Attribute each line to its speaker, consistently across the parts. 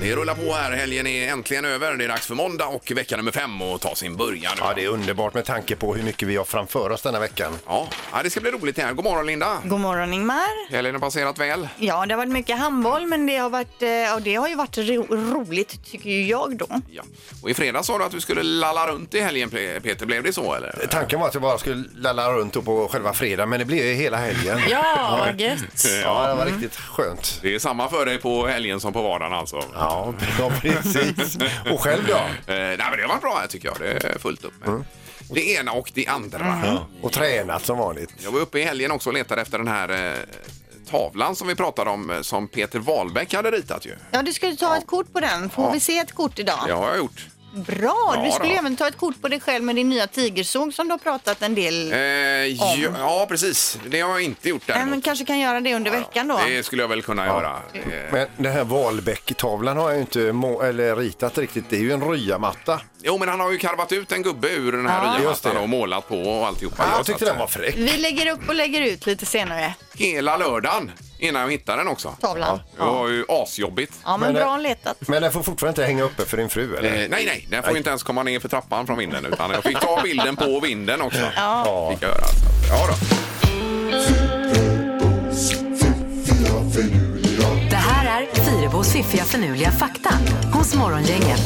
Speaker 1: Det rullar på här. Helgen är äntligen över. Det är dags för måndag och vecka nummer fem att ta sin början. nu.
Speaker 2: Ja, det är underbart med tanke på hur mycket vi har framför oss denna veckan.
Speaker 1: Ja, ja, det ska bli roligt det här. God morgon Linda!
Speaker 3: God morgon Ingmar.
Speaker 1: Helgen har passerat väl.
Speaker 3: Ja, det har varit mycket handboll, men det har, varit, eh, och det har ju varit ro roligt tycker ju jag då.
Speaker 1: Ja. Och i fredags sa du att du skulle lalla runt i helgen Pe- Peter. Blev det så eller?
Speaker 2: Tanken var att jag bara skulle lalla runt då på själva fredagen, men det blev ju hela helgen.
Speaker 4: Ja, vad gött.
Speaker 2: Ja, det var riktigt skönt.
Speaker 1: Det är samma för dig på helgen som på vardagen alltså?
Speaker 2: Ja, ja, precis. Och själv då?
Speaker 1: Eh, nej men det har varit bra här tycker jag. Det är fullt upp med.
Speaker 2: Mm.
Speaker 1: Det ena och det andra.
Speaker 2: Och tränat som vanligt.
Speaker 1: Jag var uppe i helgen också och letade efter den här eh, tavlan som vi pratade om eh, som Peter Wahlbeck hade ritat ju.
Speaker 3: Ja, du skulle ta ett kort på den. Får vi se ett kort idag?
Speaker 1: Det har jag gjort.
Speaker 3: Bra!
Speaker 1: Ja,
Speaker 3: du skulle
Speaker 1: då.
Speaker 3: även ta ett kort på dig själv med din nya tigersåg som du har pratat en del
Speaker 1: Eh, ja, ja precis, det har jag inte gjort
Speaker 3: Nej, men
Speaker 1: däremot.
Speaker 3: kanske kan göra det under veckan då.
Speaker 1: Det skulle jag väl kunna göra. Eh,
Speaker 2: Men den här Wahlbeck-tavlan har jag ju inte må- eller ritat riktigt. Det är ju en ryamatta.
Speaker 1: Jo, men han har ju karvat ut en gubbe ur den här
Speaker 3: Ja.
Speaker 1: nya
Speaker 2: Just
Speaker 1: mattan
Speaker 2: det.
Speaker 1: och målat på och alltihopa. Ja,
Speaker 2: Jag
Speaker 1: så
Speaker 2: tyckte
Speaker 1: att,
Speaker 2: den var fräck.
Speaker 3: Vi lägger upp och lägger ut lite senare,
Speaker 1: Hela lördagen innan jag hittade den också.
Speaker 3: tavlan.
Speaker 1: Det var ju asjobbigt.
Speaker 3: Ja, men
Speaker 2: Men det-
Speaker 3: bra letat.
Speaker 2: Men den får fortfarande inte hänga uppe för din fru eller?
Speaker 1: Eh, nej, nej, den får ju inte ens komma ner för trappan från vinden utan jag fick ta bilden på vinden också. Ja. Fick jag göra. Så att, Ja då.
Speaker 5: Det här är Fyrabos fiffiga förnuliga fakta hos Morgongänget.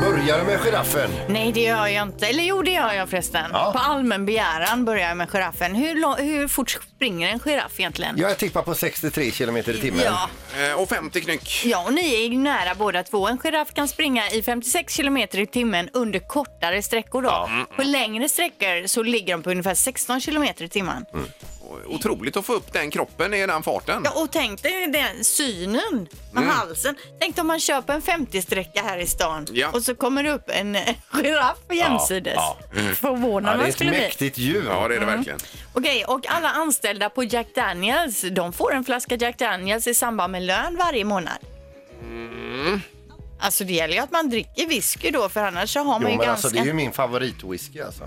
Speaker 2: Börjar du med giraffen?
Speaker 3: Nej, det gör jag inte. Eller jo, det gör jag förresten. På allmän begäran börjar jag med giraffen. Hur, lo- hur fort springer en giraff egentligen?
Speaker 2: Jag tippar på 63 kilometer i timmen.
Speaker 3: Ja,
Speaker 1: Eh, och 50 knyck.
Speaker 3: ja, och ni är ju nära båda två. En giraff kan springa i 56 kilometer i timmen under kortare sträckor. Då.
Speaker 2: Mm,
Speaker 3: På längre sträckor så ligger de på ungefär 16 kilometer i timmen.
Speaker 2: Mm.
Speaker 1: Otroligt att få upp den kroppen i den farten.
Speaker 3: Ja, och tänk dig den synen
Speaker 2: Mm.
Speaker 3: med halsen. Tänk om man köper en 50-sträcka här i stan
Speaker 1: Ja.
Speaker 3: och så kommer det upp en eh, giraff jämsides.
Speaker 2: ja.
Speaker 4: Förvånad
Speaker 2: Ja, det
Speaker 4: man
Speaker 2: är ett
Speaker 4: skulle bli.
Speaker 2: mäktigt djur.
Speaker 1: Ja, det är det
Speaker 3: Mm.
Speaker 1: verkligen.
Speaker 3: Okej, och alla anställda på Jack Daniels, de får en flaska Jack Daniels i samband med lön varje månad.
Speaker 2: Mm.
Speaker 3: Alltså det gäller ju att man dricker whisky då för annars så har man
Speaker 2: Jo,
Speaker 3: ju
Speaker 2: men
Speaker 3: ganska...
Speaker 2: alltså, det är ju min favoritwhisky alltså.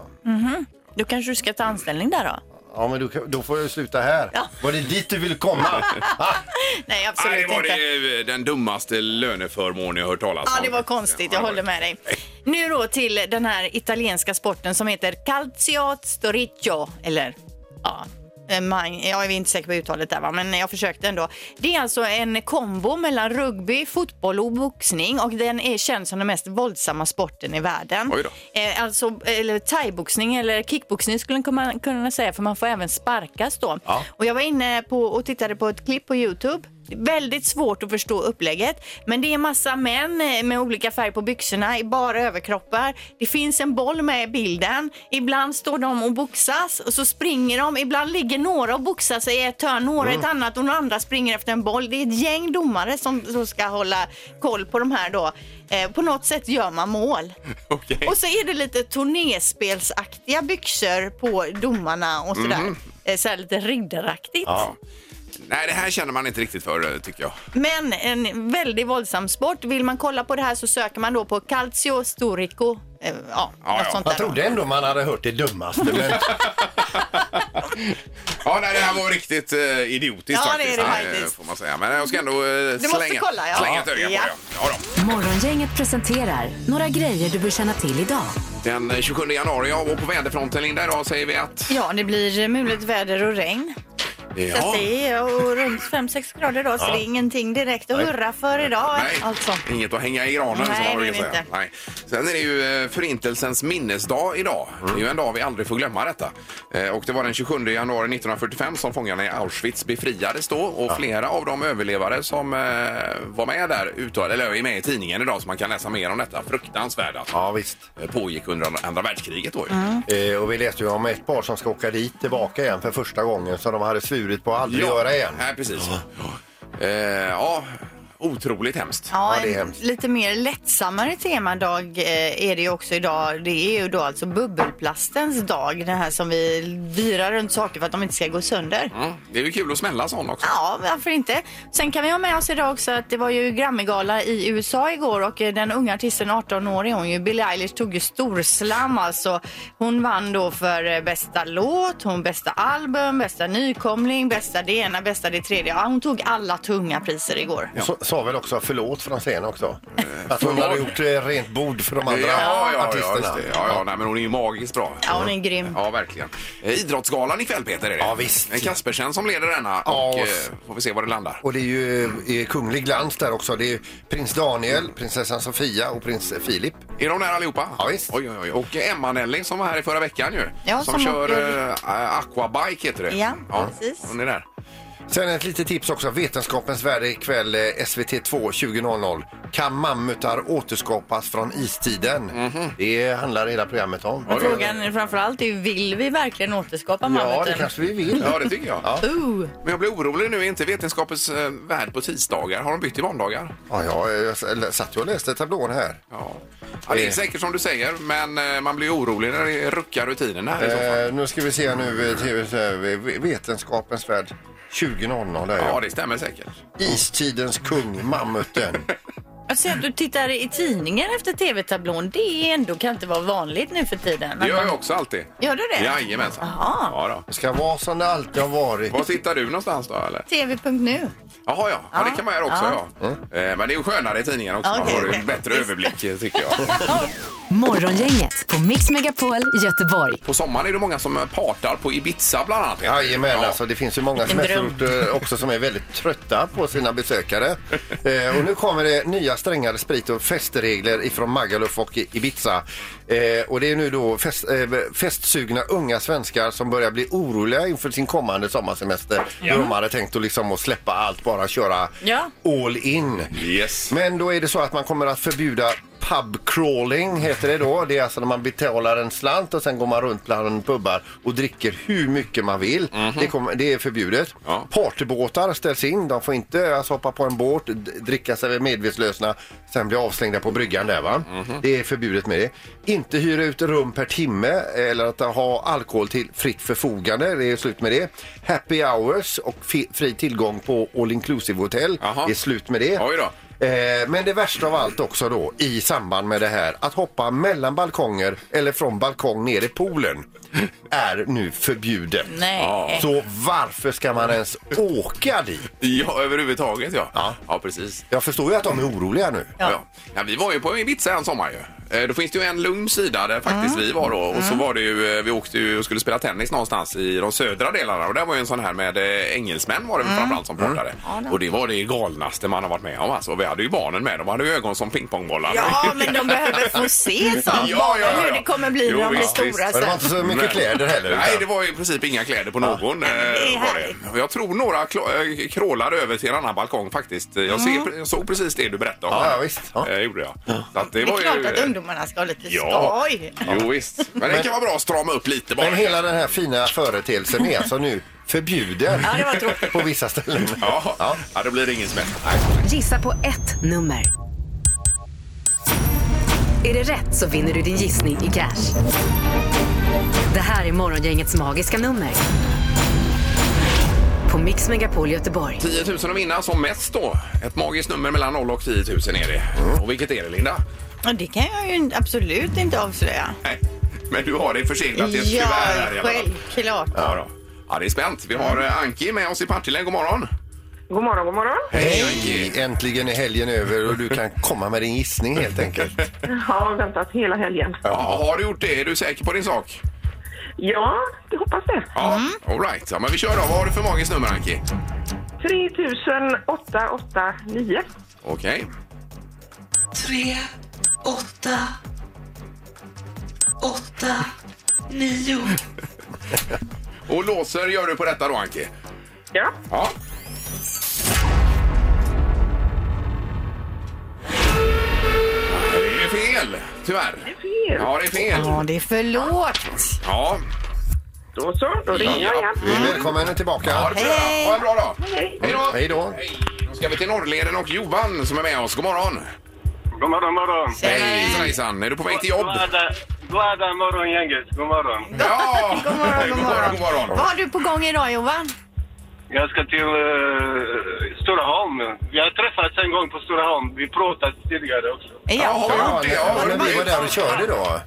Speaker 3: Då kanske du ska ta anställning där då?
Speaker 2: Ja, men då, då får jag ju sluta här.
Speaker 3: Ja.
Speaker 2: Var det dit du ville komma? Ah,
Speaker 3: Nej,
Speaker 1: Nej,
Speaker 3: absolut
Speaker 1: det var
Speaker 3: inte.
Speaker 1: det, eh, den dummaste löneförmån jag hört talas om.
Speaker 3: Ja, det var konstigt. Jag
Speaker 1: Alltså, Ja, det var-
Speaker 3: håller med dig. Nu då till den här italienska sporten som heter calciat storiccio, eller ja. eh, man- Jag är inte säker på uttalet där, va? men jag försökte ändå. Det är alltså en kombo mellan rugby, fotboll och boxning och den är känd som den mest våldsamma sporten i världen.
Speaker 1: Oj då.
Speaker 3: Eh, Alltså, eller thaiboxning eller kickboxning skulle man kunna- kunna säga för man får även sparkas då. Och jag var inne på och tittade på ett klipp på Youtube. Det är Väldigt svårt att förstå upplägget. Men det är massa män eh, med olika färg på byxorna i bara överkroppar. Det finns en boll med i bilden. Ibland står de och boxas och så springer de. Ibland ligger några och boxas i ett hörn, några i ett annat och några andra springer efter en boll. Det är ett gäng domare som, som ska hålla koll på de här då. Eh, på något sätt gör man mål.
Speaker 1: Okej.
Speaker 3: Och så är det lite turnéspelsaktiga byxor på domarna och sådär. Eh, Så här lite riddaraktigt.
Speaker 1: Mhm. Ja. Nej, det här känner man inte riktigt för eh, tycker jag.
Speaker 3: Men en väldigt våldsam sport. Vill man kolla på det här så söker man då på Calcio Storico. eh, Ja,
Speaker 1: Ja,
Speaker 3: något
Speaker 1: ja.
Speaker 3: sånt där.
Speaker 2: jag trodde ändå man hade hört det dummaste. Men,
Speaker 1: Ja, nej, det här var riktigt eh, idiotiskt
Speaker 3: Ja, det
Speaker 1: faktiskt.
Speaker 3: är det
Speaker 1: Nej,
Speaker 3: faktiskt.
Speaker 1: Får man säga. Men jag ska ändå eh,
Speaker 3: måste
Speaker 1: slänga,
Speaker 3: kolla, ja.
Speaker 1: slänga ett öga
Speaker 3: Ja.
Speaker 1: på det. Ja, då.
Speaker 5: Morgongänget presenterar några grejer du bör känna till idag.
Speaker 1: Den eh, 27 januari ja, och på väderfronten Linda idag säger vi att...
Speaker 3: Ja, det blir mulet väder och regn. Så
Speaker 1: Ja.
Speaker 3: att det är och runt 5-6 grader då, så det är ingenting direkt att hurra för idag.
Speaker 1: Nej,
Speaker 3: Alltså.
Speaker 1: inget att hänga i granen
Speaker 3: Nej,
Speaker 1: som man
Speaker 3: det är
Speaker 1: brukar
Speaker 3: det
Speaker 1: säga.
Speaker 3: inte.
Speaker 1: Nej. Sen är det ju eh, förintelsens minnesdag idag. Det är ju en dag vi aldrig får glömma detta. Eh, Och det var den 27 januari 1945 som fångarna i Auschwitz befriades då och flera av de överlevare som eh, var med där uttalade, eller är med i tidningen idag så man kan läsa mer om detta fruktansvärda som
Speaker 2: ja, visst.
Speaker 1: eh, pågick under andra världskriget då ju.
Speaker 3: Mm.
Speaker 2: Eh, och vi läste ju om ett par som ska åka dit tillbaka igen för första gången så de hade svurit på att aldrig göra igen.
Speaker 1: Nej, precis. Ja. Eh, ja. otroligt hemskt.
Speaker 3: Ja,
Speaker 2: Ja, det är
Speaker 3: en
Speaker 2: hemskt.
Speaker 3: lite mer lättsammare temadag eh, är det ju också idag. Det är ju då alltså bubbelplastens dag, den här som vi virar runt saker för att de inte ska gå sönder.
Speaker 1: Mm. Det är ju kul att smälla sån också.
Speaker 3: Ja, varför inte? Sen kan vi ha med oss idag också att det var ju Grammygala i USA igår och eh, den unga artisten 18 år är hon ju. Billie Eilish tog ju storslam alltså. Hon vann då för eh, bästa låt, hon bästa album, bästa nykomling, bästa det ena, bästa det tredje. Ja, hon tog alla tunga priser igår.
Speaker 2: Så, sa väl också förlåt från scenen också. Att hon hade gjort eh, rent bord för de andra
Speaker 1: Eh, ja, ja, ja,
Speaker 2: artisterna.
Speaker 1: just det. ja, ja nej, men hon är ju magiskt bra.
Speaker 3: Ja, hon är grym.
Speaker 1: Ja, verkligen. Eh, Idrottsgalan ikväll, Peter, är det.
Speaker 2: Ja, visst.
Speaker 1: En Kaspersen som leder denna
Speaker 2: Ja,
Speaker 1: och eh,
Speaker 2: s-
Speaker 1: får vi se var det landar.
Speaker 2: Och det är ju eh, i kunglig glans där också. Det är prins Daniel, prinsessan Sofia och prins Filip.
Speaker 1: Är de där allihopa?
Speaker 2: Ja, visst.
Speaker 1: Oj, oj, oj. Och Emma Nelling som var här i förra veckan ju.
Speaker 3: Ja,
Speaker 1: som,
Speaker 3: som
Speaker 1: kör
Speaker 3: åker-
Speaker 1: eh, aquabike heter det.
Speaker 3: Ja, precis.
Speaker 1: Hon är där.
Speaker 2: Sen ett litet tips också. Vetenskapens värld ikväll eh, SVT2 20.00. Kan mammutar återskapas från istiden?
Speaker 1: Mhm.
Speaker 2: Det handlar hela programmet om.
Speaker 1: Oj, oj, oj.
Speaker 3: Frågan är framförallt är ju, vill vi verkligen återskapa
Speaker 2: Ja,
Speaker 3: mammuten?
Speaker 2: det kanske vi vill.
Speaker 1: Ja, det tycker jag.
Speaker 2: Ja.
Speaker 3: Uh,
Speaker 1: Men jag blir orolig nu. Är inte Vetenskapens eh, värld på tisdagar? Har de bytt till måndagar?
Speaker 2: Ja, ja, jag satt ju och läste tablån här.
Speaker 1: Ja. ja. Det är
Speaker 2: Eh.
Speaker 1: säkert som du säger, men eh, man blir orolig när det ruckar rutinerna här i så fall.
Speaker 2: Eh, nu ska vi se nu eh, TV, så här, eh, Vetenskapens värld 20.00. Där,
Speaker 1: Ja,
Speaker 2: ja.
Speaker 1: det stämmer säkert.
Speaker 2: Istidens kung, mammuten.
Speaker 3: jag ser att du tittar i tidningen efter tv-tablån. Det är ändå kan inte vara vanligt nu för tiden.
Speaker 1: Det gör jag också alltid.
Speaker 3: Gör du det?
Speaker 1: Jajamensan.
Speaker 3: Jaha.
Speaker 1: Ja, då.
Speaker 2: Det ska vara som det alltid har varit.
Speaker 1: Var tittar du någonstans då eller?
Speaker 3: TV.nu.
Speaker 1: Jaha ja, ja det kan man göra också ja.
Speaker 3: Ja.
Speaker 1: Eh, Men det är ju skönare i tidningen också. Man
Speaker 3: Okej,
Speaker 1: får ju
Speaker 3: okej.
Speaker 1: bättre överblick eh, tycker jag.
Speaker 5: Morgongänget på Mix Megapol Göteborg.
Speaker 1: På sommaren är det många som eh, partar på Ibiza bland annat.
Speaker 2: Jajamän, alltså det finns ju många
Speaker 3: Vilken dröm.
Speaker 2: semesterorter eh, också som är väldigt trötta på sina besökare. Eh, och nu kommer det nya strängare sprit och festregler ifrån Magaluf och I- Ibiza. Eh, och det är nu då fest, eh, festsugna unga svenskar som börjar bli oroliga inför sin kommande sommarsemester. De hade tänkt att liksom att släppa allt, bara köra
Speaker 3: Ja.
Speaker 2: all in.
Speaker 1: Yes.
Speaker 2: Men då är det så att man kommer att förbjuda pubcrawling heter det då. Det är alltså när man betalar en slant och sen går man runt bland pubbar och dricker hur mycket man vill. det, kommer, det är förbjudet.
Speaker 1: Mhm. Ja.
Speaker 2: Partybåtar ställs in. De får inte alltså, hoppa på en båt, d- dricka sig medvetslösa, sen bli avslängda på bryggan där va.
Speaker 1: Mhm.
Speaker 2: Det är förbjudet med det. Inte hyra ut rum per timme eller att ha alkohol till fritt förfogande. Det är slut med det. Happy hours och fi- fri tillgång på all inclusive hotell.
Speaker 1: Jaha.
Speaker 2: Det är slut med det.
Speaker 1: Oj då.
Speaker 2: Eh, Men det värsta av allt också då i samband med det här att hoppa mellan balkonger eller från balkong ner i poolen är nu förbjudet.
Speaker 3: Nej.
Speaker 1: Ja.
Speaker 2: Så varför ska man ens åka dit?
Speaker 1: Ja, överhuvudtaget ja. Ja, precis.
Speaker 2: Jag förstår ju att de är oroliga nu.
Speaker 1: Ja. Ja. vi var ju på Ibiza en sommar ju. Eh, Då finns det ju en lugn sida där faktiskt vi var då. Och så var det ju, eh, vi åkte ju och skulle spela tennis någonstans i de södra delarna. Och där var ju en sån här med eh, engelsmän var det väl framförallt som pratade. Och det var det galnaste man har varit med om alltså. Och vi hade ju barnen med. De hade ju ögon som pingpongbollar.
Speaker 3: Ja, men de behöver få se sånt.
Speaker 1: Ja,
Speaker 3: Bara
Speaker 1: ja, ja.
Speaker 3: hur det kommer bli
Speaker 1: Jo,
Speaker 3: när de blir
Speaker 1: visst,
Speaker 3: stora
Speaker 1: visst.
Speaker 2: Men det var
Speaker 3: sen.
Speaker 2: inte så mycket kläder heller.
Speaker 1: Nej,
Speaker 2: utan-
Speaker 1: det var i princip inga kläder på någon. eh,
Speaker 3: är
Speaker 1: var det.
Speaker 3: härligt.
Speaker 1: Och Jag tror några kla- eh, krålade över till en annan balkong faktiskt. Jag ser, jag såg precis det du berättade om.
Speaker 2: Ja,
Speaker 1: här.
Speaker 2: ja, visst. Ja.
Speaker 1: Eh, gjorde jag. Så att det,
Speaker 3: Det är
Speaker 1: var ju...
Speaker 3: klart att ungdomarna ska ha lite
Speaker 1: Ja,
Speaker 3: skoj.
Speaker 1: jo visst. Men det kan vara bra att strama upp lite bara.
Speaker 2: Men hela den här fina företeelsen är alltså nu förbjuden
Speaker 3: Ja, det var tråkigt.
Speaker 2: på vissa ställen.
Speaker 1: Ja, ja. då blir det ingen smäll.
Speaker 5: Gissa på ett nummer. Är det rätt så vinner du din gissning i cash. Det här är Morgongängets magiska nummer. På Mix Megapol Göteborg.
Speaker 1: 10 000 att vinna som mest då. Ett magiskt nummer mellan 0 och 10 000 är det. Och vilket är det Linda?
Speaker 3: Ja, det kan jag ju absolut inte avslöja.
Speaker 1: Nej, men du har det förseglat i ett
Speaker 3: Ja,
Speaker 1: kuvert här i alla fall.
Speaker 3: självklart.
Speaker 1: Ja, då. ja, det är spänt. Vi har eh, Anki med oss i Partille. God morgon!
Speaker 4: God morgon, god morgon.
Speaker 1: Hej
Speaker 2: Hej! Äntligen är helgen över och du kan komma med din gissning helt enkelt.
Speaker 1: Mm.
Speaker 4: Jag har väntat hela helgen.
Speaker 1: Ja, har du gjort det? Är du säker på din sak?
Speaker 4: Ja, det hoppas det.
Speaker 1: Ja, all right. Ja, men vi kör då. Vad har du för magiskt nummer, Anki?
Speaker 4: 3889.
Speaker 1: Okej.
Speaker 6: tre, åtta, åtta, nio.
Speaker 1: Och låser gör du på detta då, Anki?
Speaker 4: Ja,
Speaker 1: Ja. Det är fel, tyvärr.
Speaker 4: fel.
Speaker 1: Ja, det är fel.
Speaker 3: Ja, det är för lågt.
Speaker 1: Ja.
Speaker 4: Då så, då ringer jag igen.
Speaker 2: Vi välkommen tillbaka.
Speaker 1: Ha det bra. Ha en bra dag. Hej då.
Speaker 2: Hej då.
Speaker 1: Hej då. ska vi till Norrleden och Johan som är med oss. God morgon!
Speaker 7: God morgon, morgon.
Speaker 1: Hej! Hejsan, hejsan. Är du på väg till jobb?
Speaker 7: Glada, glada morgongänget. God morgon.
Speaker 1: Ja!
Speaker 3: God morgon, god morgon.
Speaker 1: god morgon.
Speaker 3: Vad har du på gång idag Johan?
Speaker 7: Jag ska till uh, Storaholm. Vi har träffats en gång på Storaholm. Vi pratat tidigare också.
Speaker 3: Ja.
Speaker 1: Ja, har vi gjort det?
Speaker 2: Ja,
Speaker 1: Ja,
Speaker 2: när, när vi var där och körde då.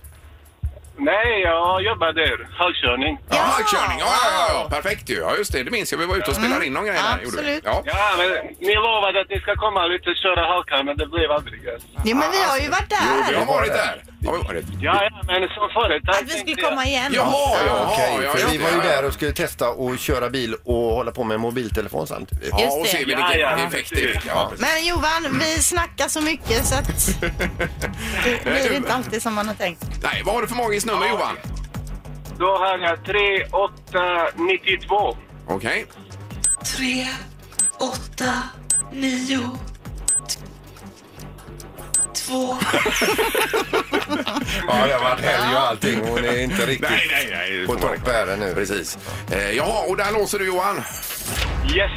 Speaker 7: Nej, jag jobbar där. Halkkörning.
Speaker 1: Ja, körning. Ja, ja, ja, perfekt ju. Ja, just det. Det minns jag. Vi var ute och spelade in någon grej där. gjorde vi.
Speaker 3: absolut.
Speaker 1: Ja.
Speaker 7: Ja, men ni lovade att ni ska komma lite och köra halkan, men det blev aldrig. alltså.
Speaker 3: Jo, men vi har ju varit
Speaker 1: Jo, vi
Speaker 3: där.
Speaker 1: har varit där. Har vi varit?
Speaker 7: Ja, ja, men som förut.
Speaker 3: Att vi skulle komma igen.
Speaker 1: Jaha, jaha.
Speaker 2: Okej,
Speaker 1: ja,
Speaker 2: för
Speaker 1: just
Speaker 2: vi
Speaker 1: det.
Speaker 2: var ju där och skulle testa och köra bil och hålla på med mobiltelefon samtidigt.
Speaker 1: Ja,
Speaker 3: Just
Speaker 1: och
Speaker 3: det.
Speaker 1: se vilken
Speaker 7: Ja, ja.
Speaker 1: effekt det fick. Ja, precis.
Speaker 3: Men Johan, vi snackar så mycket så att det blir inte alltid som man har tänkt.
Speaker 1: Nej, vad har du för magiskt nummer, Johan?
Speaker 7: Då har jag 3892.
Speaker 1: Okej.
Speaker 6: tre, åtta, nio, t- två.
Speaker 2: Ja, det har varit helg och allting. Hon är inte riktigt
Speaker 1: Nej, nej, nej. det
Speaker 2: på
Speaker 1: får man
Speaker 2: topp
Speaker 1: inte.
Speaker 2: här nu.
Speaker 1: Precis. Eh, jaha, och där låser du, Johan.
Speaker 7: Yes.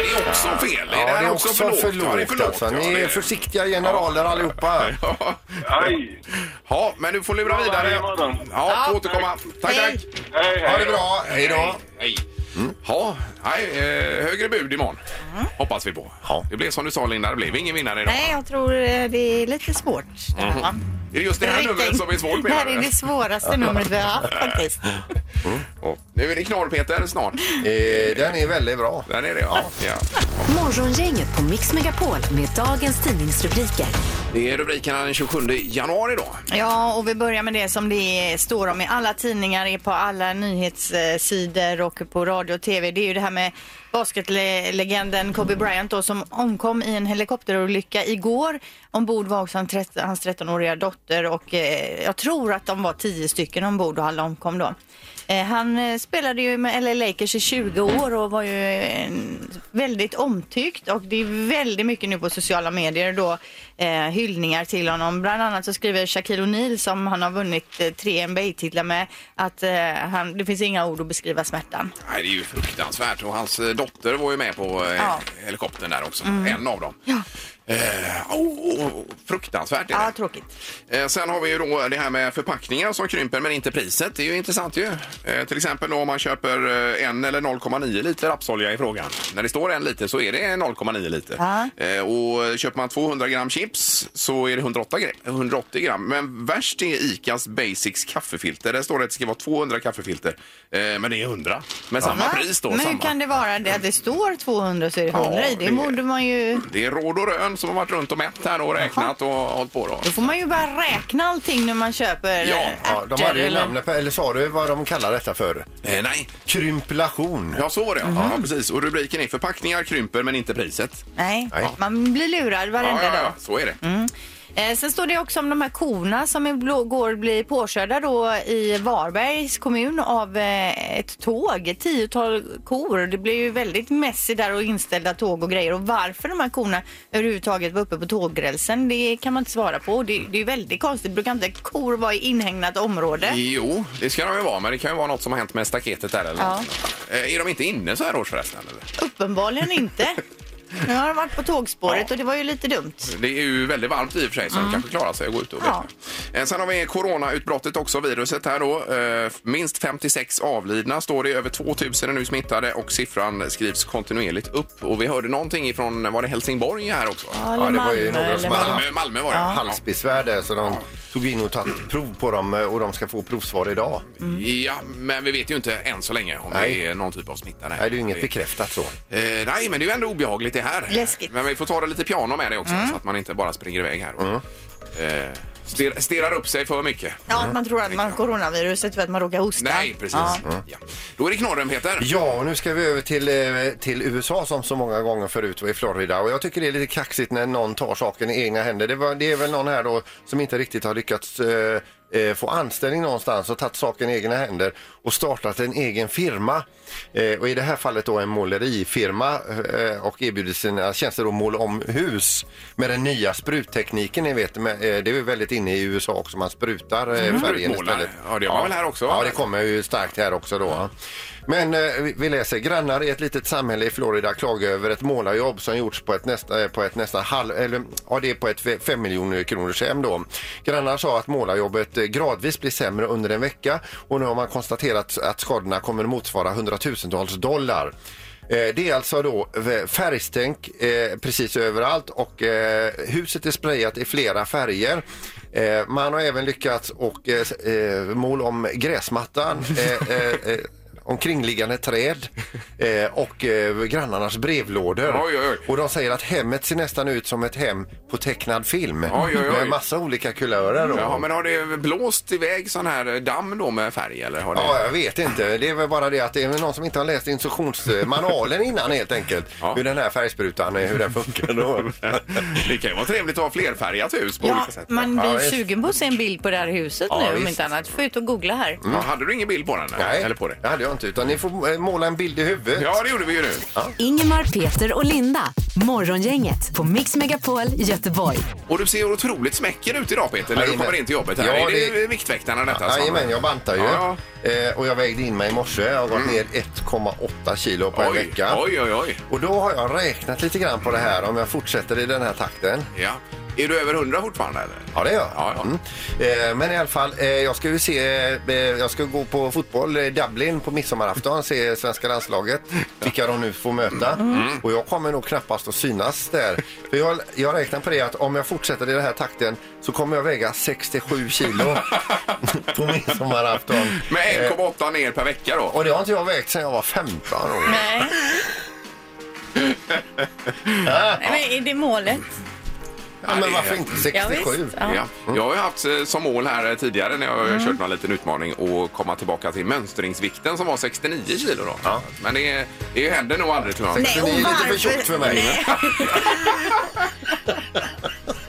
Speaker 1: Nej, det är också fel.
Speaker 2: Ja, det är också för lågt.
Speaker 1: Ja, det är för lågt.
Speaker 2: alltså.
Speaker 1: ja,
Speaker 2: Ni
Speaker 1: det
Speaker 2: är försiktiga generaler allihopa.
Speaker 1: Ja.
Speaker 7: Aj.
Speaker 1: Ja, men du får lura
Speaker 7: Ja,
Speaker 1: vidare.
Speaker 7: varje morgon.
Speaker 1: Ja, får återkomma. Tack, tack.
Speaker 3: Hej.
Speaker 7: Hej, hej.
Speaker 2: Ha det bra. Hej då.
Speaker 1: Hej. Ja, nej, eh, högre bud imorgon. Hoppas vi på.
Speaker 2: Ja.
Speaker 1: Det blev som du sa Linda, det blev ingen vinnare idag.
Speaker 3: Nej, jag tror eh, det är lite svårt. Johan.
Speaker 1: Är det just Mhm. det här
Speaker 3: Riktigt.
Speaker 1: numret som är svårt
Speaker 3: Det
Speaker 1: menar
Speaker 3: här är
Speaker 1: du?
Speaker 3: det svåraste numret vi har haft faktiskt.
Speaker 1: Ja. Nu är det knorr Peter snart.
Speaker 2: Eh, Den är väldigt bra.
Speaker 1: Där är det ja. ja.
Speaker 5: Morgongänget på Mix Megapol med dagens tidningsrubriker.
Speaker 1: Det är rubrikerna den 27 januari då.
Speaker 3: Ja, och vi börjar med det som det står om i alla tidningar, är på alla nyhetssidor och på radio och tv. Det är ju det här med basketlegenden Kobe Bryant då, som omkom i en helikopterolycka igår. Ombord var också han trett- hans 13-åriga dotter och eh, jag tror att de var 10 stycken ombord och alla omkom då. Eh, han eh, spelade ju med LA Lakers i 20 år och var ju en väldigt omtyckt och det är väldigt mycket nu på sociala medier då eh, hyllningar till honom. Bland annat så skriver Shaquille O'Neal som han har vunnit eh, tre NBA-titlar med att eh, han, det finns inga ord att beskriva smärtan.
Speaker 1: Nej, det är ju fruktansvärt. Och hans eh, dotter var ju med på eh,
Speaker 3: Ja. Mm.
Speaker 1: helikoptern där också. En av dem. Eh, oh, oh, fruktansvärt är det.
Speaker 3: Ja, tråkigt.
Speaker 1: Eh, Sen har vi ju då det här med förpackningar som krymper men inte priset. Det är ju intressant ju. Eh, Till exempel då om man köper eh, en eller 0,9 liter rapsolja i frågan. När det står en liter så är det 0,9 liter.
Speaker 3: Ja.
Speaker 1: Eh, Och köper man 200 gram chips så är det 108 gra- 180 gram. Men värst är ICAs Basics kaffefilter. Där står det att det ska vara 200 kaffefilter. Eh, Men det är 100. Med samma
Speaker 3: Va?
Speaker 1: pris då.
Speaker 3: Men hur
Speaker 1: samma.
Speaker 3: kan det vara det att det står 200 så är det
Speaker 1: Ja,
Speaker 3: 100 i? Det
Speaker 1: det-
Speaker 3: borde man ju...
Speaker 1: Det är råd och rön som har varit runt och mätt här och räknat och hållit på då.
Speaker 3: Då får man ju bara räkna allting när man köper
Speaker 1: Ja,
Speaker 3: eh,
Speaker 2: Ja, de hade ju namnet på, eller sa du vad de kallar detta för?
Speaker 1: Eh, Nej,
Speaker 2: Krymplation.
Speaker 1: Ja, så var det. Ja, precis. Och rubriken är förpackningar krymper men inte priset.
Speaker 3: Nej,
Speaker 2: Nej.
Speaker 3: man blir lurad varenda
Speaker 1: Ja, ja, ja.
Speaker 3: dag.
Speaker 1: Så är Mm. det.
Speaker 3: Eh, sen står det också om de här korna som igår blir påkörda då i Varbergs kommun av eh, ett tåg. Ett tiotal kor. Det blev ju väldigt messy där och inställda tåg och grejer. Och varför de här korna överhuvudtaget var uppe på tågrälsen det kan man inte svara på. Det, det är ju väldigt konstigt. Brukar inte kor vara i inhägnat område?
Speaker 1: Jo, det ska de ju vara, men det kan ju vara något som har hänt med staketet där eller
Speaker 3: Ja.
Speaker 1: något. sånt. Eh, Är de inte inne så här års förresten? Eller?
Speaker 3: Uppenbarligen inte. Nu har de varit på tågspåret
Speaker 1: Ja.
Speaker 3: och det var ju lite dumt.
Speaker 1: Det är ju väldigt varmt i och för sig, så de kanske klarar sig att gå ut och
Speaker 3: Ja.
Speaker 1: Mm. ja. Sen har vi coronautbrottet också, viruset här då. Eh, Minst 56 avlidna står det, över 2000 är nu smittade och siffran skrivs kontinuerligt upp. Och vi hörde någonting ifrån, var det Helsingborg här också?
Speaker 2: Ja, det var ju några som hade
Speaker 1: Malmö, Malmö var det. Ja.
Speaker 2: halsbesvär där så de tog in och tagit prov på dem eh, och de ska få provsvar idag.
Speaker 1: Ja, men vi vet ju inte än så länge om
Speaker 2: Nej.
Speaker 1: det är någon typ av smitta.
Speaker 2: Nej, det är ju inget bekräftat så.
Speaker 1: Eh, nej, men det är ju ändå obehagligt det här.
Speaker 3: Läskigt.
Speaker 1: Men vi får ta det lite piano med det också så att man inte bara springer iväg här. Och,
Speaker 2: Mm.
Speaker 1: eh, stir, stirrar upp sig för mycket.
Speaker 3: Ja, att man tror att man har coronaviruset för att man råkar hosta.
Speaker 1: Nej, precis.
Speaker 3: Ja.
Speaker 1: Ja. Då är det knorren, Peter.
Speaker 2: Ja, och nu ska vi över till, eh, till USA som så många gånger förut var i Florida. Och jag tycker det är lite kaxigt när någon tar saken i egna händer. Det, var, det är väl någon här då som inte riktigt har lyckats eh, eh, få anställning någonstans och tagit saken i egna händer och startat en egen firma. Eh, och i det här fallet då en målerifirma eh, och erbjuder sina tjänster att måla om hus med den nya spruttekniken ni vet. Med, eh, det är ju väldigt inne i USA också, man sprutar eh, färgen
Speaker 1: Sprutmålar.
Speaker 2: istället.
Speaker 1: Mm. Ja, det gör man väl här också,
Speaker 2: Ja,
Speaker 1: va?
Speaker 2: det kommer ju starkt här också då. va. Men eh, vi- vi läser grannar i ett litet samhälle i Florida klagar över ett målarjobb som gjorts på ett nästa, eh, på ett nästa halv, eller ja det är på ett fe- fem miljoner kronors hem då. Grannar sa att målarjobbet eh, gradvis blir sämre under en vecka och nu har man konstaterat att skadorna kommer motsvara hundratusentals dollar. Eh, Det är alltså då eh, färgstänk eh, precis överallt och eh, huset är sprayat i flera färger. Eh, Man har även lyckats och eh, s- eh, måla om gräsmattan, eh, eh, eh, omkringliggande träd eh, och eh, grannarnas brevlådor.
Speaker 1: Oj, oj, oj.
Speaker 2: Och de säger att hemmet ser nästan ut som ett hem på tecknad film
Speaker 1: Oj, oj, oj.
Speaker 2: med massa olika kulörer. Då.
Speaker 1: Ja, men har det blåst iväg sån här damm då med färg eller? Har det...
Speaker 2: Ja, jag vet inte. Det är väl bara det att det är väl någon som inte har läst instruktionsmanualen innan helt enkelt.
Speaker 1: Ja.
Speaker 2: Hur den här färgsprutan, eh, hur den funkar då.
Speaker 1: Det kan ju vara trevligt att ha flerfärgat hus på
Speaker 8: Ja,
Speaker 1: olika sätt.
Speaker 8: man
Speaker 2: Ja,
Speaker 8: blir
Speaker 2: visst.
Speaker 8: sugen på att se en bild på det här huset
Speaker 2: Ja,
Speaker 8: nu om
Speaker 2: visst.
Speaker 8: inte annat. Få ut och googla här.
Speaker 1: Ja, hade du ingen bild på den?
Speaker 2: Mm. Nej,
Speaker 1: Eller på det?
Speaker 2: hade jag inte. Utan ni får eh, måla en bild i huvudet.
Speaker 1: Ja, det gjorde vi ju nu.
Speaker 5: Ingemar, Peter och Linda. Morgongänget på Mix Megapol Göteborg.
Speaker 1: Och du ser otroligt smäcker ut idag Peter när du
Speaker 2: Jajamän.
Speaker 1: kommer in till jobbet. Här.
Speaker 2: Ja,
Speaker 1: är det,
Speaker 2: det-
Speaker 1: Viktväktarna detta? som-
Speaker 2: Jajamän, jag bantar ju.
Speaker 1: Ja, Mm.
Speaker 2: Eh, och jag vägde in mig i morse. Jag har gått ner 1,8 kilo på en
Speaker 1: Oj,
Speaker 2: vecka.
Speaker 1: oj, oj, oj.
Speaker 2: Och då har jag räknat lite grann på det här om jag fortsätter i den här takten.
Speaker 1: Ja. Är du över 100 fortfarande? Eller?
Speaker 2: Ja, det gör jag.
Speaker 1: Ja, ja.
Speaker 2: Mm. Eh, men i alla fall, eh, jag ska ju se, eh, jag ska gå på fotboll i Dublin på midsommarafton, se svenska landslaget, vilka de nu får möta.
Speaker 1: Mm.
Speaker 2: Och jag kommer nog knappast att synas där. För jag, jag räknar på det att om jag fortsätter i den här takten så kommer jag väga 67 kilo på midsommarafton. Eh,
Speaker 1: Med 1,8 ner per vecka då?
Speaker 2: Och det har inte jag vägt sedan jag var 15 år.
Speaker 8: Nej. Nej, men är det målet?
Speaker 2: Ja, men varför inte
Speaker 8: Ja, visst.
Speaker 2: 67?
Speaker 8: Ja.
Speaker 1: Ja.
Speaker 2: Mm.
Speaker 1: Jag har ju haft eh, som mål här eh, tidigare när jag har kört någon liten utmaning att komma tillbaka till mönstringsvikten som var 69 kilo då. Men det, det händer nog aldrig tror jag.
Speaker 8: Nej,
Speaker 2: Så det
Speaker 8: och
Speaker 2: är lite
Speaker 8: varför-
Speaker 2: för tjockt för mig.
Speaker 8: Nej.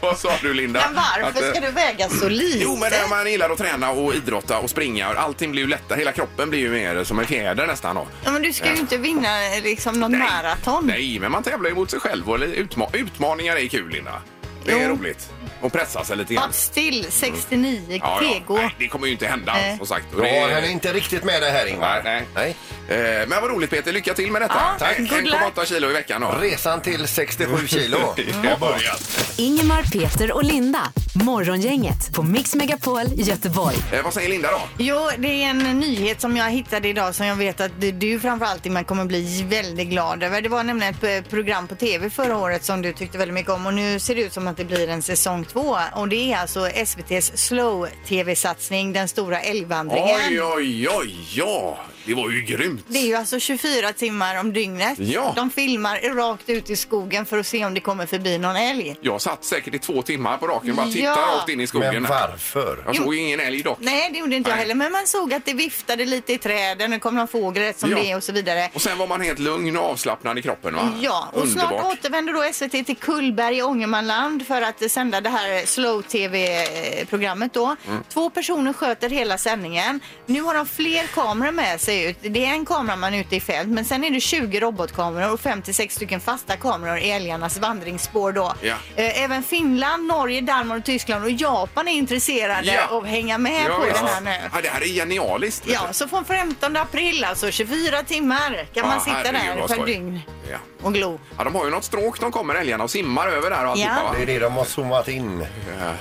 Speaker 1: Vad sa du Linda?
Speaker 3: Men varför
Speaker 1: Att, eh,
Speaker 3: ska du väga så lite?
Speaker 1: Jo, men när man gillar att träna och idrotta och springa, allting blir ju lättare. Hela kroppen blir ju mer som en fjäder nästan. Då.
Speaker 3: Ja, men du ska ju inte vinna eh, liksom någon maraton.
Speaker 1: Nej, men man tävlar ju mot sig själv och utma utmaningar är kul, Linda. Det är
Speaker 3: Jo.
Speaker 1: roligt. Och pressa sig lite grann.
Speaker 3: Fast still, 69
Speaker 1: Ja, ja.
Speaker 3: tego.
Speaker 1: Nej, det kommer ju inte hända,
Speaker 3: Nej.
Speaker 1: som sagt. Och
Speaker 2: Jag
Speaker 1: det-
Speaker 2: är inte riktigt med det här Ingvar.
Speaker 1: Nej, nej.
Speaker 2: nej.
Speaker 1: Eh, Men vad roligt, Peter. Lycka till med detta.
Speaker 8: Ja,
Speaker 2: tack.
Speaker 1: En-
Speaker 8: Good luck.
Speaker 1: 1,8 kilo i veckan. Då.
Speaker 2: Resan till 67 kilo.
Speaker 1: Jag börjar.
Speaker 5: Ingemar, Peter och Linda. Morgongänget på Mix Megapol Göteborg.
Speaker 1: Eh, vad säger Linda då?
Speaker 3: Jo, det är en nyhet som jag hittade idag som jag vet att du- du framförallt Ingmar kommer bli väldigt glad över. Det var nämligen ett eh, program på tv förra året som du tyckte väldigt mycket om och nu ser det ut som att det blir en säsong två. Och det är alltså SVTs Slow-tv-satsning, Den stora älgvandringen.
Speaker 1: Oj, oj, oj, ja. Det var ju grymt.
Speaker 3: Det är ju alltså 24 timmar om dygnet.
Speaker 1: Ja.
Speaker 3: De filmar rakt ut i skogen för att se om det kommer förbi någon älg.
Speaker 1: Jag satt säkert i två timmar på raken och bara tittade
Speaker 3: Ja.
Speaker 1: rakt in i skogen.
Speaker 2: Men varför?
Speaker 1: Jag såg ju ingen älg dock.
Speaker 3: Nej, det gjorde inte jag
Speaker 1: Nej.
Speaker 3: heller. Men man såg att det viftade lite i träden. Det kom någon fågel rätt som
Speaker 1: Ja.
Speaker 3: det är och så vidare.
Speaker 1: Och sen var man helt lugn och avslappnad i kroppen va?
Speaker 3: Ja, och snart
Speaker 1: Ah, Underbart.
Speaker 3: återvänder då SVT till Kullberg i Ångermanland för att eh, sända det här slow-tv-programmet då.
Speaker 1: Mm.
Speaker 3: Två personer sköter hela sändningen. Nu har de fler kameror med sig ut. Det är en kameraman ute i fält, men sen är det 20 robotkameror och 5-6 stycken fasta kameror i älgarnas vandringsspår då.
Speaker 1: Ja.
Speaker 3: Eh, Även Finland, Norge, Danmark och Tyskland och Japan är intresserade
Speaker 1: Ja.
Speaker 3: av att hänga med på
Speaker 1: visst.
Speaker 3: den här nu.
Speaker 1: Ja, det här är genialiskt. vet
Speaker 3: Ja,
Speaker 1: du.
Speaker 3: så från 15 april alltså, 24 timmar kan
Speaker 1: Ja,
Speaker 3: man sitta
Speaker 1: Ah, herregud,
Speaker 3: där
Speaker 1: vad
Speaker 3: per
Speaker 1: skoj.
Speaker 3: dygn
Speaker 1: Ja.
Speaker 3: och glo.
Speaker 1: ja, de har ju något stråk de kommer älgarna och simmar över där och alltihopa
Speaker 3: Ja.
Speaker 1: va?
Speaker 2: Det är det de har zoomat in.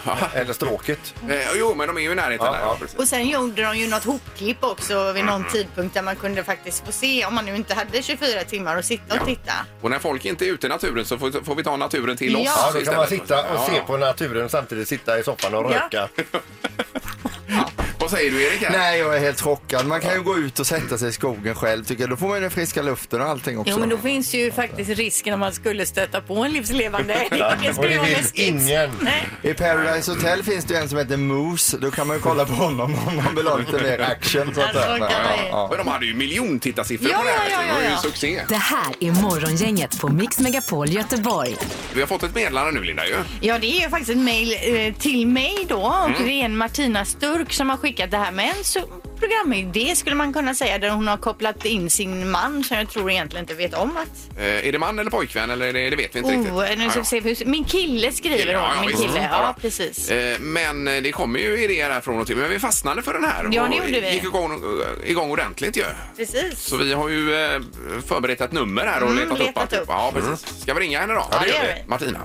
Speaker 1: Ja.
Speaker 2: Eller stråket.
Speaker 1: Eh, Jo, men de är ju i närheten
Speaker 2: Ja,
Speaker 1: där.
Speaker 2: ja.
Speaker 1: precis.
Speaker 3: Och sen gjorde de ju något hopklipp också vid någon tidpunkt där man kunde faktiskt få se om man nu inte hade 24 timmar att sitta och
Speaker 1: Ja.
Speaker 3: titta.
Speaker 1: Och när folk inte är ute i naturen så får, får vi ta naturen till
Speaker 3: Ja.
Speaker 1: oss.
Speaker 2: Ja, då kan man
Speaker 1: istället.
Speaker 2: sitta och
Speaker 1: Ja.
Speaker 2: se på naturen och samtidigt sitta i soffan och
Speaker 3: Ja.
Speaker 2: röka.
Speaker 1: Vad Vad säger du Erik? här?
Speaker 9: Nej, jag är helt chockad. Man kan ju gå ut och sätta sig i skogen själv tycker jag. Då får man ju den friska luften och allting också.
Speaker 3: Jo, men då finns ju faktiskt risken om man skulle stöta på en livslevande. Det
Speaker 2: Och
Speaker 3: skulle
Speaker 2: det
Speaker 3: vara
Speaker 2: vill
Speaker 3: läskigt.
Speaker 2: ingen.
Speaker 9: I Paradise Hotel finns det ju en som heter Moose. Då kan man ju kolla på honom om man vill ha lite mer action. Så att
Speaker 3: Alltså,
Speaker 9: säga.
Speaker 3: kan
Speaker 9: Ja,
Speaker 3: man ju.
Speaker 9: ja,
Speaker 1: Men de hade ju miljontittarsiffror
Speaker 3: Ja,
Speaker 1: på det här.
Speaker 3: ja, ja,
Speaker 1: det var ju
Speaker 3: ja, ja.
Speaker 1: succé.
Speaker 5: Det här är Morgongänget på Mix Megapol Göteborg.
Speaker 1: Vi har fått ett meddelande nu Linda ju.
Speaker 3: Ja, det är ju faktiskt ett mejl eh, till mig då och det är en Martina Sturk som har skickat det här med en så- programidé skulle man kunna säga där hon har kopplat in sin man som jag tror egentligen inte vet om att...
Speaker 1: Eh, är det man eller pojkvän eller är det, det vet vi inte riktigt.
Speaker 3: Oh, nu
Speaker 1: Ja,
Speaker 3: ska
Speaker 1: ja.
Speaker 3: vi se hur... Min kille skriver
Speaker 1: Ja,
Speaker 3: hon.
Speaker 1: ja,
Speaker 3: min
Speaker 1: visst.
Speaker 3: kille,
Speaker 1: Mm.
Speaker 3: ja
Speaker 1: Ja.
Speaker 3: precis.
Speaker 1: Eh, Men eh, det kommer ju idéer här från och till. Men vi fastnade för den här
Speaker 3: Ja, det
Speaker 1: och
Speaker 3: gjorde vi.
Speaker 1: gick igång, eh, igång ordentligt ju.
Speaker 3: precis.
Speaker 1: Så vi har ju eh, förberett ett nummer här och
Speaker 3: Mm,
Speaker 1: letat, upp.
Speaker 3: letat
Speaker 1: alltihop.
Speaker 3: upp.
Speaker 1: Ja, precis. Ska vi ringa henne då?
Speaker 3: Mm. Ja, det gör vi.
Speaker 1: Martina.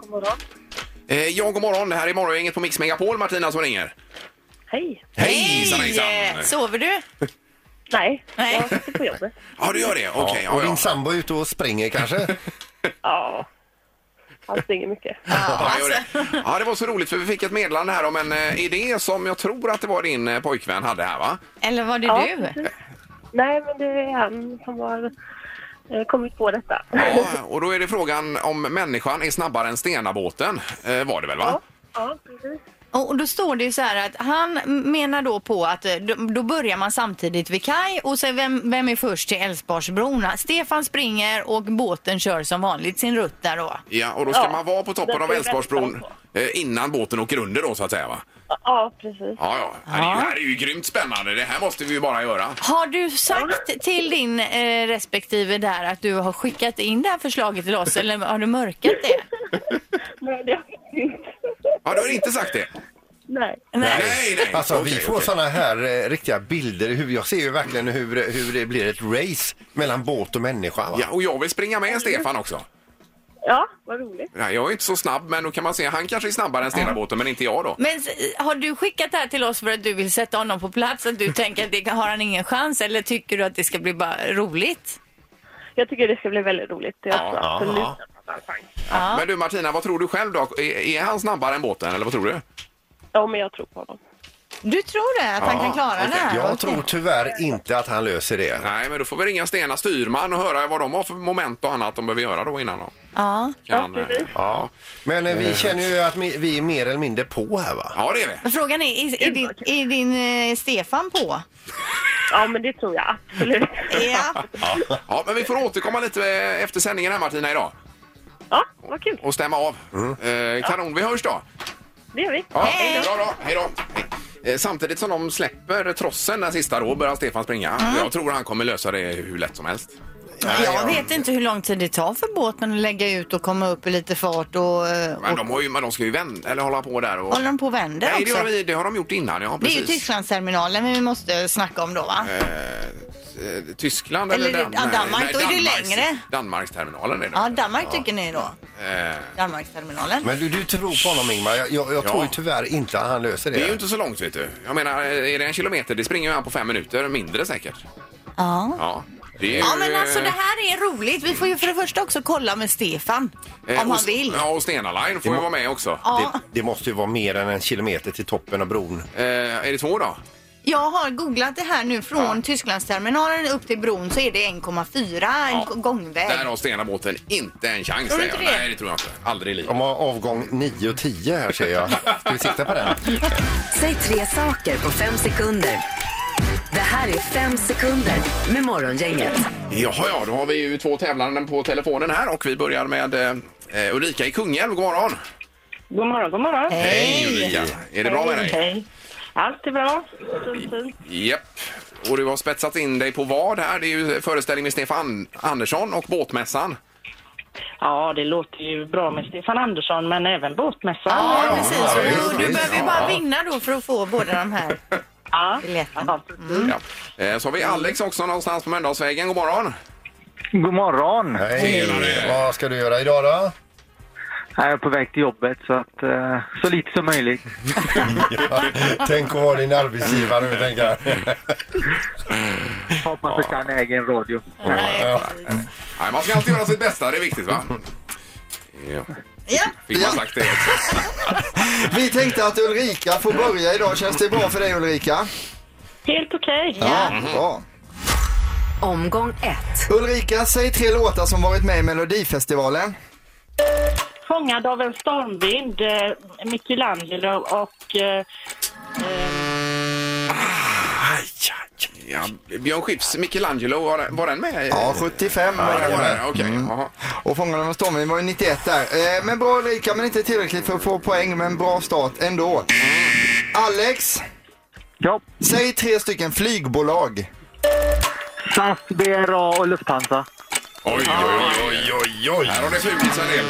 Speaker 4: God morgon.
Speaker 1: Eh, ja, god morgon. Det här är Morgongänget på Mix Megapol. Martina som ringer.
Speaker 4: Hej.
Speaker 1: Hej! Hejsan, hejsan!
Speaker 3: Eh, Sover du?
Speaker 4: Nej,
Speaker 3: Nej.
Speaker 4: jag sitter på jobbet.
Speaker 1: Ja, du gör det? Okej.
Speaker 2: Ja,
Speaker 1: ja,
Speaker 2: och
Speaker 1: ja.
Speaker 2: din sambo är ute och springer kanske?
Speaker 4: Ja, han springer mycket.
Speaker 1: Ja, jag gör
Speaker 3: Alltså.
Speaker 1: det. ja, det var så roligt för vi fick ett meddelande här om en eh, idé som jag tror att det var din eh, pojkvän hade här va?
Speaker 3: Eller var det
Speaker 4: Ja,
Speaker 3: du?
Speaker 4: precis. Nej, men det är han som har eh, kommit på detta.
Speaker 1: Ja, och då är det frågan om människan är snabbare än stenabåten eh, var det väl va?
Speaker 4: Ja, ja precis.
Speaker 3: Och och då står det ju så här att han menar då på att eh, då, då börjar man samtidigt vid kaj och sen vem, vem är först till Älvsborgsbron? Stefan springer och båten kör som vanligt sin rutt där då.
Speaker 1: Ja, och då ska
Speaker 4: Ja.
Speaker 1: man vara på toppen
Speaker 4: Den
Speaker 1: av
Speaker 4: ska vi
Speaker 1: Älvsborgsbron
Speaker 4: vänta
Speaker 1: eh, innan båten åker under då så att säga va?
Speaker 4: Ja, precis.
Speaker 1: Ja, ja. Det här är ju, det här är ju grymt spännande. Det här måste vi ju bara göra.
Speaker 3: Har du sagt till din eh, respektive där att du har skickat in det här förslaget till oss eller har du mörkat det?
Speaker 4: Nej, det har jag inte.
Speaker 1: Ja, du har inte sagt det?
Speaker 4: Nej.
Speaker 1: Nej, nej.
Speaker 2: Alltså vi
Speaker 1: Okej,
Speaker 2: får
Speaker 1: okej.
Speaker 2: sådana här eh, riktiga bilder i huvudet. Jag ser ju verkligen hur, hur det blir ett race mellan båt och människa. Va?
Speaker 1: Ja, och jag vill springa med Stefan också.
Speaker 4: Ja, vad roligt.
Speaker 1: Nej, jag är inte så snabb, men då kan man se. Han kanske är snabbare än stenabåten, men inte jag då.
Speaker 3: Men s- har du skickat det här till oss för att du vill sätta honom på plats? Att du tänker att det har han ingen chans eller tycker du att det ska bli bara roligt?
Speaker 4: Jag tycker det ska bli väldigt roligt. Jag
Speaker 1: Ja,
Speaker 4: tror
Speaker 1: ja,
Speaker 4: absolut
Speaker 1: ja.
Speaker 4: att han chans.
Speaker 1: Men du Martina, vad tror du själv då? Är, är han snabbare än båten eller vad tror du?
Speaker 4: Ja, men jag tror på honom.
Speaker 3: Du tror det? Att han kan klara det här?
Speaker 2: Jag tror tyvärr inte att han löser det.
Speaker 1: Nej, men då får vi ringa Stena styrman och höra vad de har för moment och annat de behöver göra då innan. Då.
Speaker 3: Ja.
Speaker 1: Kan,
Speaker 4: Ja,
Speaker 1: eh,
Speaker 4: precis.
Speaker 1: ja.
Speaker 2: Men eh, vi känner ju att mi- vi är mer eller mindre på här va?
Speaker 1: ja, det är vi.
Speaker 3: Men Frågan är, är, är, din, är din eh, Stefan på?
Speaker 4: Ja, men det tror jag absolut.
Speaker 3: Ja.
Speaker 1: Ja, men vi får återkomma lite eh, efter sändningen här Martina idag
Speaker 4: Ja, vad kul.
Speaker 1: och stämma av.
Speaker 3: Mm.
Speaker 1: Eh, kanon, vi hörs då.
Speaker 4: Det gör vi.
Speaker 1: Ja, hej då. då. Hej då. Eh, Samtidigt som de släpper trossen den sista då börjar Stefan springa.
Speaker 3: Mm.
Speaker 1: Jag tror han kommer lösa det hur lätt som helst.
Speaker 3: Jag vet inte hur lång tid det tar för båten att lägga ut och komma upp i lite fart och, eh,
Speaker 1: Men
Speaker 3: och
Speaker 1: de, har ju, men de ska ju vända, eller hålla på där. Och...
Speaker 3: håller de på och vänder
Speaker 1: Nej, det
Speaker 3: också?
Speaker 1: har, de, det har de gjort innan. Ja,
Speaker 3: Det är ju
Speaker 1: precis.
Speaker 3: Tysklandsterminalen vi måste snacka om då va?
Speaker 1: Eh, Tyskland eller,
Speaker 3: Eller,
Speaker 1: Dan-
Speaker 3: ja, Danmark, då är det längre.
Speaker 1: Danmarksterminalen är det.
Speaker 3: Ja, Danmark tycker ni då?
Speaker 1: Eh,
Speaker 3: Danmarksterminalen.
Speaker 2: Men du, du tror på honom Ingmar. Jag, jag, jag
Speaker 1: Ja.
Speaker 2: tror ju tyvärr inte att han löser det.
Speaker 1: Det är ju inte så långt vet du. Jag menar, eh, är det en kilometer, det springer ju han på fem minuter, mindre säkert.
Speaker 3: Ja.
Speaker 1: Ja. Det är ju,
Speaker 3: Ja men alltså
Speaker 1: eh,
Speaker 3: det här är roligt. Vi får ju för det första också kolla med Stefan
Speaker 1: eh,
Speaker 3: om
Speaker 1: och-
Speaker 3: han vill.
Speaker 1: Ja, och Stena Line får ju vara med också.
Speaker 2: det, det måste ju vara mer än en kilometer till toppen av bron.
Speaker 1: Eh, är det två då?
Speaker 3: Jag har googlat det här nu från Tysklandsterminalen upp till bron så är det 1,4
Speaker 1: Ja.
Speaker 3: en gångväg.
Speaker 1: Där har Stena båten inte en chans.
Speaker 3: Tror du
Speaker 1: säger
Speaker 3: inte
Speaker 1: jag.
Speaker 3: det?
Speaker 1: Nej, det tror jag inte. Aldrig i livet.
Speaker 2: De har avgång 9 och 10 här ser jag. Ska vi titta på den?
Speaker 5: Säg tre saker på fem sekunder. Det här är fem sekunder med Morgongänget.
Speaker 1: Jaha, ja, då har vi ju två tävlande på telefonen här och vi börjar med eh, Ulrika i Kungälv. God morgon!
Speaker 4: God morgon, god morgon.
Speaker 1: Hej Ulrika! Är det bra med dig?
Speaker 4: Hej. Allt är bra. Fint, fint.
Speaker 1: Japp. Och du har spetsat in dig på vad här? Det är ju föreställning med Stefan Andersson och båtmässan.
Speaker 4: Ja, det låter ju bra med Stefan Andersson, men även båtmässan.
Speaker 3: Ja, precis.
Speaker 2: ja,
Speaker 3: Och
Speaker 2: visst,
Speaker 3: du, du
Speaker 2: visst.
Speaker 3: behöver ju bara vinna då för att få båda de här.
Speaker 4: Ja.
Speaker 3: Biljetten.
Speaker 4: Ja, precis.
Speaker 1: Ja. Eh, Så har vi Alex också någonstans på Mölndalsvägen. God morgon!
Speaker 7: God morgon!
Speaker 2: Hej! Vad ska du göra idag då?
Speaker 7: Jag är på väg till jobbet så att eh, så lite som möjligt.
Speaker 2: Tänk att vara din arbetsgivare nu tänker jag.
Speaker 7: Hoppas att kan äga en radio.
Speaker 3: Nej.
Speaker 1: Nej, man ska alltid göra sitt bästa, det är viktigt va? Ja.
Speaker 10: Ja.
Speaker 1: Fick man sagt det också.
Speaker 9: Vi tänkte att Ulrika får börja idag. Känns det bra för dig Ulrika?
Speaker 4: Helt okej.
Speaker 1: Mhm.
Speaker 9: Bra.
Speaker 5: Omgång ett.
Speaker 9: Ulrika, säg tre låtar som varit med i Melodifestivalen.
Speaker 4: Fångad av en stormvind, eh, Michelangelo och... Eh,
Speaker 1: Ja, Björn Skifs Michelangelo, var, var den med?
Speaker 9: Ja, 75 var
Speaker 1: Eh, Ja,
Speaker 9: det
Speaker 1: det var
Speaker 9: med.
Speaker 1: den. Okej. jaha.
Speaker 9: Och Fångarna av en stormvind var ju 91 där. Eh, Men bra Ulrika, men inte tillräckligt för att få poäng, men bra start ändå. Alex,
Speaker 7: Ja,
Speaker 9: säg tre stycken flygbolag.
Speaker 7: SAS, BRA och Lufthansa.
Speaker 1: Oj, oj, oj, oj, oj. Här har det flugits en del.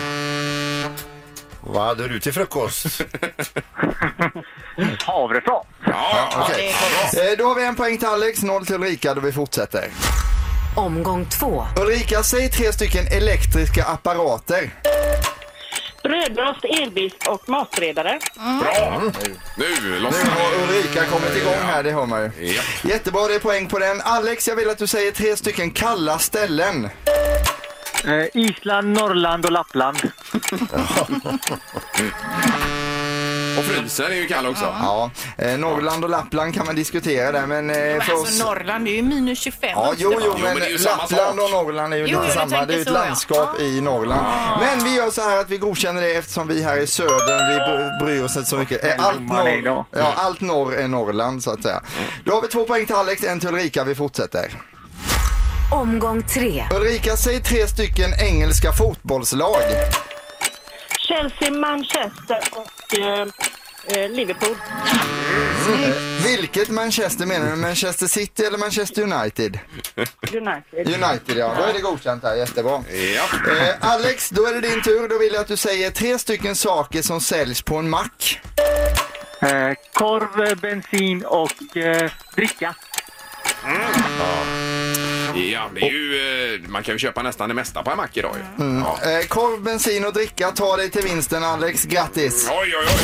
Speaker 2: Vad hade du till frukost?
Speaker 7: Havrefras.
Speaker 1: Ja, ja.
Speaker 9: Okej. Eh, Då har vi en poäng till Alex, noll till Ulrika då vi fortsätter.
Speaker 5: Omgång två.
Speaker 9: Ulrika, säg tre stycken elektriska apparater.
Speaker 4: brödrost, elbit och matredare.
Speaker 1: bra. Nu
Speaker 9: Nu
Speaker 1: lossnar
Speaker 9: har Ulrika kommit igång här, det hör man ju.
Speaker 1: Ja.
Speaker 9: Jättebra, det är poäng på den. Alex, jag vill att du säger tre stycken kalla ställen.
Speaker 7: Eh, Island, Norrland och Lappland.
Speaker 1: Och frysen är ju kall också.
Speaker 9: Ja, eh, Norrland och Lappland kan man diskutera där, men eh, för oss...
Speaker 3: Alltså Norrland, det är ju minus 25.
Speaker 9: Ja, jo, jo,
Speaker 1: men
Speaker 9: men
Speaker 1: det är ju samma
Speaker 9: Lappland
Speaker 1: sak.
Speaker 9: och Norrland är ju
Speaker 3: Jo,
Speaker 9: lite
Speaker 3: jo, du
Speaker 9: samma.
Speaker 3: tänker
Speaker 9: Det är ju ett
Speaker 3: så, ja.
Speaker 9: landskap i Norrland. Men vi gör så här att vi godkänner det eftersom vi här i södern, vi br- bryr oss inte så mycket. Eh, Allt
Speaker 7: Man är
Speaker 9: norr,
Speaker 7: glad.
Speaker 9: ja, allt norr är Norrland så att säga. Då har vi två poäng till Alex, en till Ulrika. Vi fortsätter.
Speaker 5: Omgång tre.
Speaker 9: Ulrika, säg tre stycken engelska fotbollslag.
Speaker 3: Mm.
Speaker 4: Chelsea, Manchester och eh, eh, Liverpool.
Speaker 9: Eh, Vilket Manchester menar du? Manchester City eller Manchester United?
Speaker 4: United.
Speaker 9: United ja, då är det godkänt här. Jättebra.
Speaker 1: Ja.
Speaker 9: Eh, Alex, då är det din tur. Då vill jag att du säger tre stycken saker som säljs på en mack.
Speaker 7: Eh, korv, bensin och eh, dricka.
Speaker 1: ja, det är ju, eh, man kan ju köpa nästan det mesta på en mack idag ju. Ja.
Speaker 9: Eh, korv, bensin och dricka. Ta dig till vinsten Alex. Grattis!
Speaker 1: Oj, oj, oj.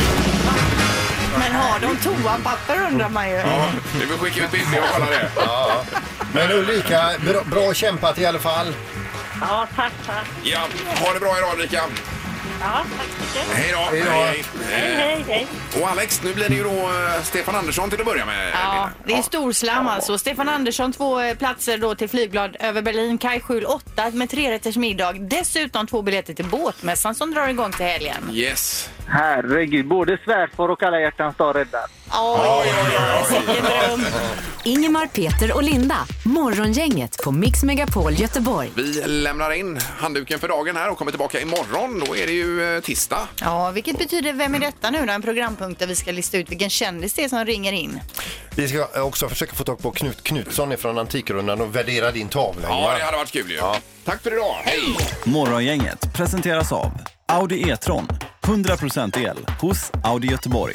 Speaker 3: Men har de toapapper undrar man ju.
Speaker 1: Ja, vi får skicka ut bilder och kolla det.
Speaker 2: Men Ulrika, bra, bra kämpat i alla fall.
Speaker 4: Ja, tack, tack.
Speaker 1: Ja, ha det bra idag Ulrika.
Speaker 4: Ja, tack så mycket.
Speaker 1: Hej då.
Speaker 2: Hej då.
Speaker 4: Hej,
Speaker 1: Eh,
Speaker 4: hej, hej.
Speaker 1: Och Alex, nu blir det ju då eh, Stefan Andersson till att börja med.
Speaker 3: Ja,
Speaker 1: Lena.
Speaker 3: det är storslam alltså. Stefan Andersson två eh, platser då till flygblad över Berlin. Kaj Schül åtta med trerätters middag. Dessutom två biljetter till båtmässan som drar igång till helgen.
Speaker 1: Yes.
Speaker 7: Herregud, både svärfar och alla hjärtans dag räddar.
Speaker 3: Oj, vilken dröm!
Speaker 5: Ingemar, Peter och Linda. Morgongänget på Mix Megapol Göteborg.
Speaker 1: Vi lämnar in handduken för dagen här och kommer tillbaka imorgon. Då är det ju eh, tisdag.
Speaker 3: Ja, vilket betyder Vem är detta nu då? En programpunkt där vi ska lista ut vilken kändis det är som ringer in.
Speaker 2: Vi ska också försöka få tag på Knut Knutsson från Antikrundan och värdera din tavla.
Speaker 1: Ja,
Speaker 2: Ingvar.
Speaker 1: det hade varit kul ju. Tack för idag. Hej!
Speaker 11: Morgongänget presenteras av Audi E-tron. 100% el hos Audi Göteborg.